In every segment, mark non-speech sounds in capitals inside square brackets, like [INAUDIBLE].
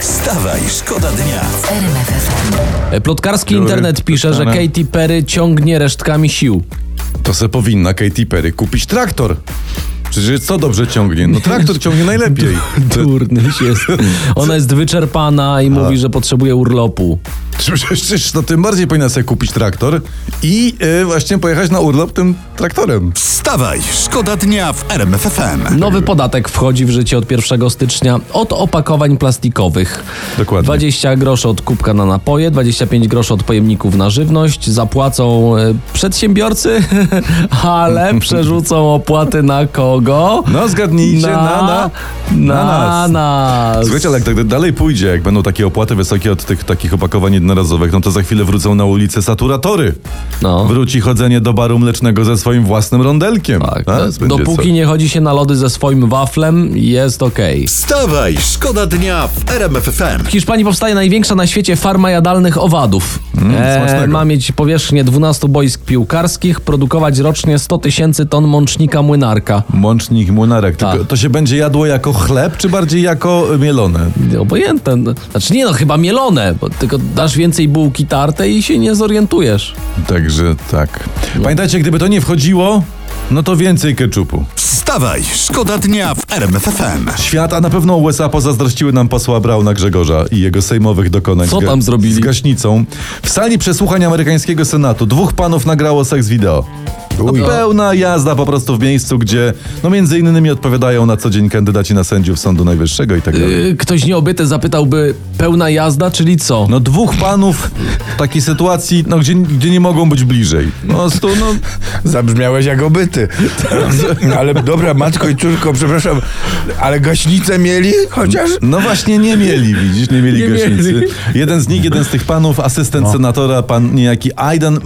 Wstawaj, szkoda dnia. E, Plotkarski Dzień dobry, internet pisze, że Plotkarne. Katy Perry ciągnie resztkami [LAUGHS] sił. To se powinna Katy Perry kupić traktor. Przecież co dobrze ciągnie? No traktor ciągnie [LAUGHS] najlepiej. Durny jest. Ona jest wyczerpana i mówi, że potrzebuje urlopu. Przecież to tym bardziej powinna sobie kupić traktor i e, właśnie pojechać na urlop tym traktorem. Wstawaj, szkoda dnia w RMFFM. Nowy podatek wchodzi w życie od 1 stycznia od opakowań plastikowych. Dokładnie. 20 groszy od kubka na napoje, 25 groszy od pojemników na żywność. Zapłacą e, przedsiębiorcy, [LAUGHS] ale [LAUGHS] przerzucą opłaty na kogo? No zgadnijcie, na, na, na, na, nas. nas. Słuchajcie, ale jak tak dalej pójdzie, jak będą takie opłaty wysokie od tych takich opakowań jednorazowych, no to za chwilę wrócą na ulicę saturatory. No. Wróci chodzenie do baru mlecznego ze swoim własnym rondelkiem. Tak, A, to- będzie dopóki co. nie chodzi się na lody ze swoim waflem, jest okej. Wstawaj, szkoda dnia w RMFFM. W Hiszpanii powstaje największa na świecie farma jadalnych owadów. Mm, E, smacznego. ma mieć powierzchnię 12 boisk piłkarskich, produkować rocznie 100 tysięcy ton mącznika młynarka. Mącznik młynarek. Tylko Tak. to się będzie jadło jako chleb, czy bardziej jako y, mielone? Obojętne. no. Znaczy nie no, chyba mielone, bo tylko dasz więcej bułki tartej i się nie zorientujesz. Także tak. Pamiętajcie, gdyby to nie wchodziło, no to więcej keczupu. Wstawaj, szkoda dnia w RMFFM. Świat, a na pewno USA pozazdrościły nam posła Brauna Grzegorza i jego sejmowych dokonań. Co z ga- tam zrobili? Z gaśnicą. W sali przesłuchań amerykańskiego Senatu dwóch panów nagrało seks wideo. No, pełna jazda po prostu w miejscu, gdzie no między innymi odpowiadają na co dzień kandydaci na sędziów Sądu Najwyższego i tak dalej. Yy, ktoś nieobyty zapytałby, pełna jazda, czyli co? No dwóch panów w takiej sytuacji, no gdzie, gdzie nie mogą być bliżej. Po prostu, no... Zabrzmiałeś jak obyty. No, ale dobra, matko i córko, przepraszam, ale gaśnicę mieli chociaż? No właśnie nie mieli, widzisz, nie mieli Nie gaśnicy. mieli. Jeden z nich, jeden z tych panów, asystent No. senatora, pan niejaki Aidan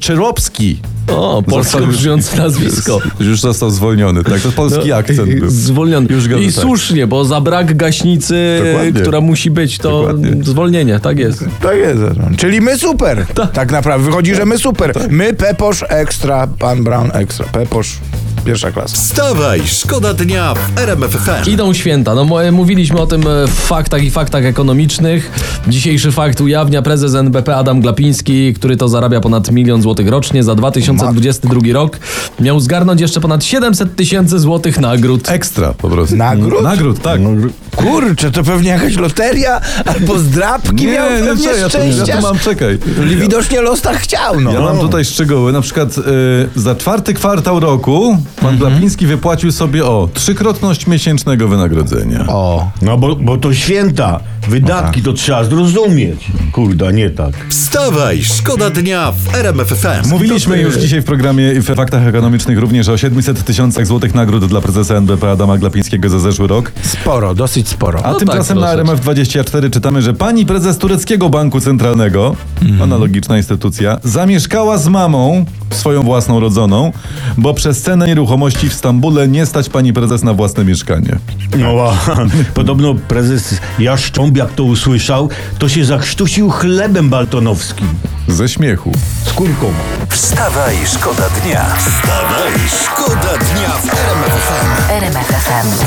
Mezet-Czeropski. No, O, polsko Został- [LAUGHS] brzmiące nazwisko. No, Już został zwolniony, tak? To polski akcent był. Zwolniony. Już go I tak. słusznie, bo za brak gaśnicy, Dokładnie. która musi być, to Dokładnie. zwolnienie, tak jest. To jest. Czyli my super. Tak naprawdę. Wychodzi, że my super. My Peposz ekstra, pan Brown ekstra. Peposz pierwsza klasa. Wstawaj, szkoda dnia w RMFFM. Idą święta. No mo- mówiliśmy o tym e, w faktach i faktach ekonomicznych. Dzisiejszy fakt ujawnia prezes NBP Adam Glapiński, który to zarabia ponad milion złotych rocznie za 2022 rok. Miał zgarnąć jeszcze ponad 700 tysięcy złotych nagród. Ekstra po prostu. Nagród? No, Nagród, tak. Kurczę, to pewnie jakaś loteria albo zdrabki miał pewnie no co, ja, tu, szczęścia. ja tu mam, czekaj. Widocznie los tak chciał, no. Ja mam tutaj szczegóły. Na przykład y, za czwarty kwartał roku pan Mhm. Glapiński wypłacił sobie o trzykrotność miesięcznego wynagrodzenia. O. No bo, bo to święta. Wydatki to trzeba zrozumieć. Kurda, nie tak. Wstawaj, szkoda dnia w RMFFM. Mówiliśmy już dzisiaj w programie i w faktach ekonomicznych również o 700 tysiącach złotych nagród dla prezesa NBP Adama Glapińskiego za zeszły rok. Sporo, dosyć sporo. A No tymczasem tak, na dosyć. RMF24 czytamy, że pani prezes tureckiego banku centralnego, Mhm. analogiczna instytucja, zamieszkała z mamą, swoją własną rodzoną, bo przez cenę nieruchomości w Stambule nie stać pani prezes na własne mieszkanie. No, a, podobno prezes Jaszcząb, jak to usłyszał, to się zakrztusił chlebem baltonowskim. Ze śmiechu. Z kurką. Wstawaj, szkoda dnia. Wstawaj, szkoda dnia w RMFFM. RMFFM.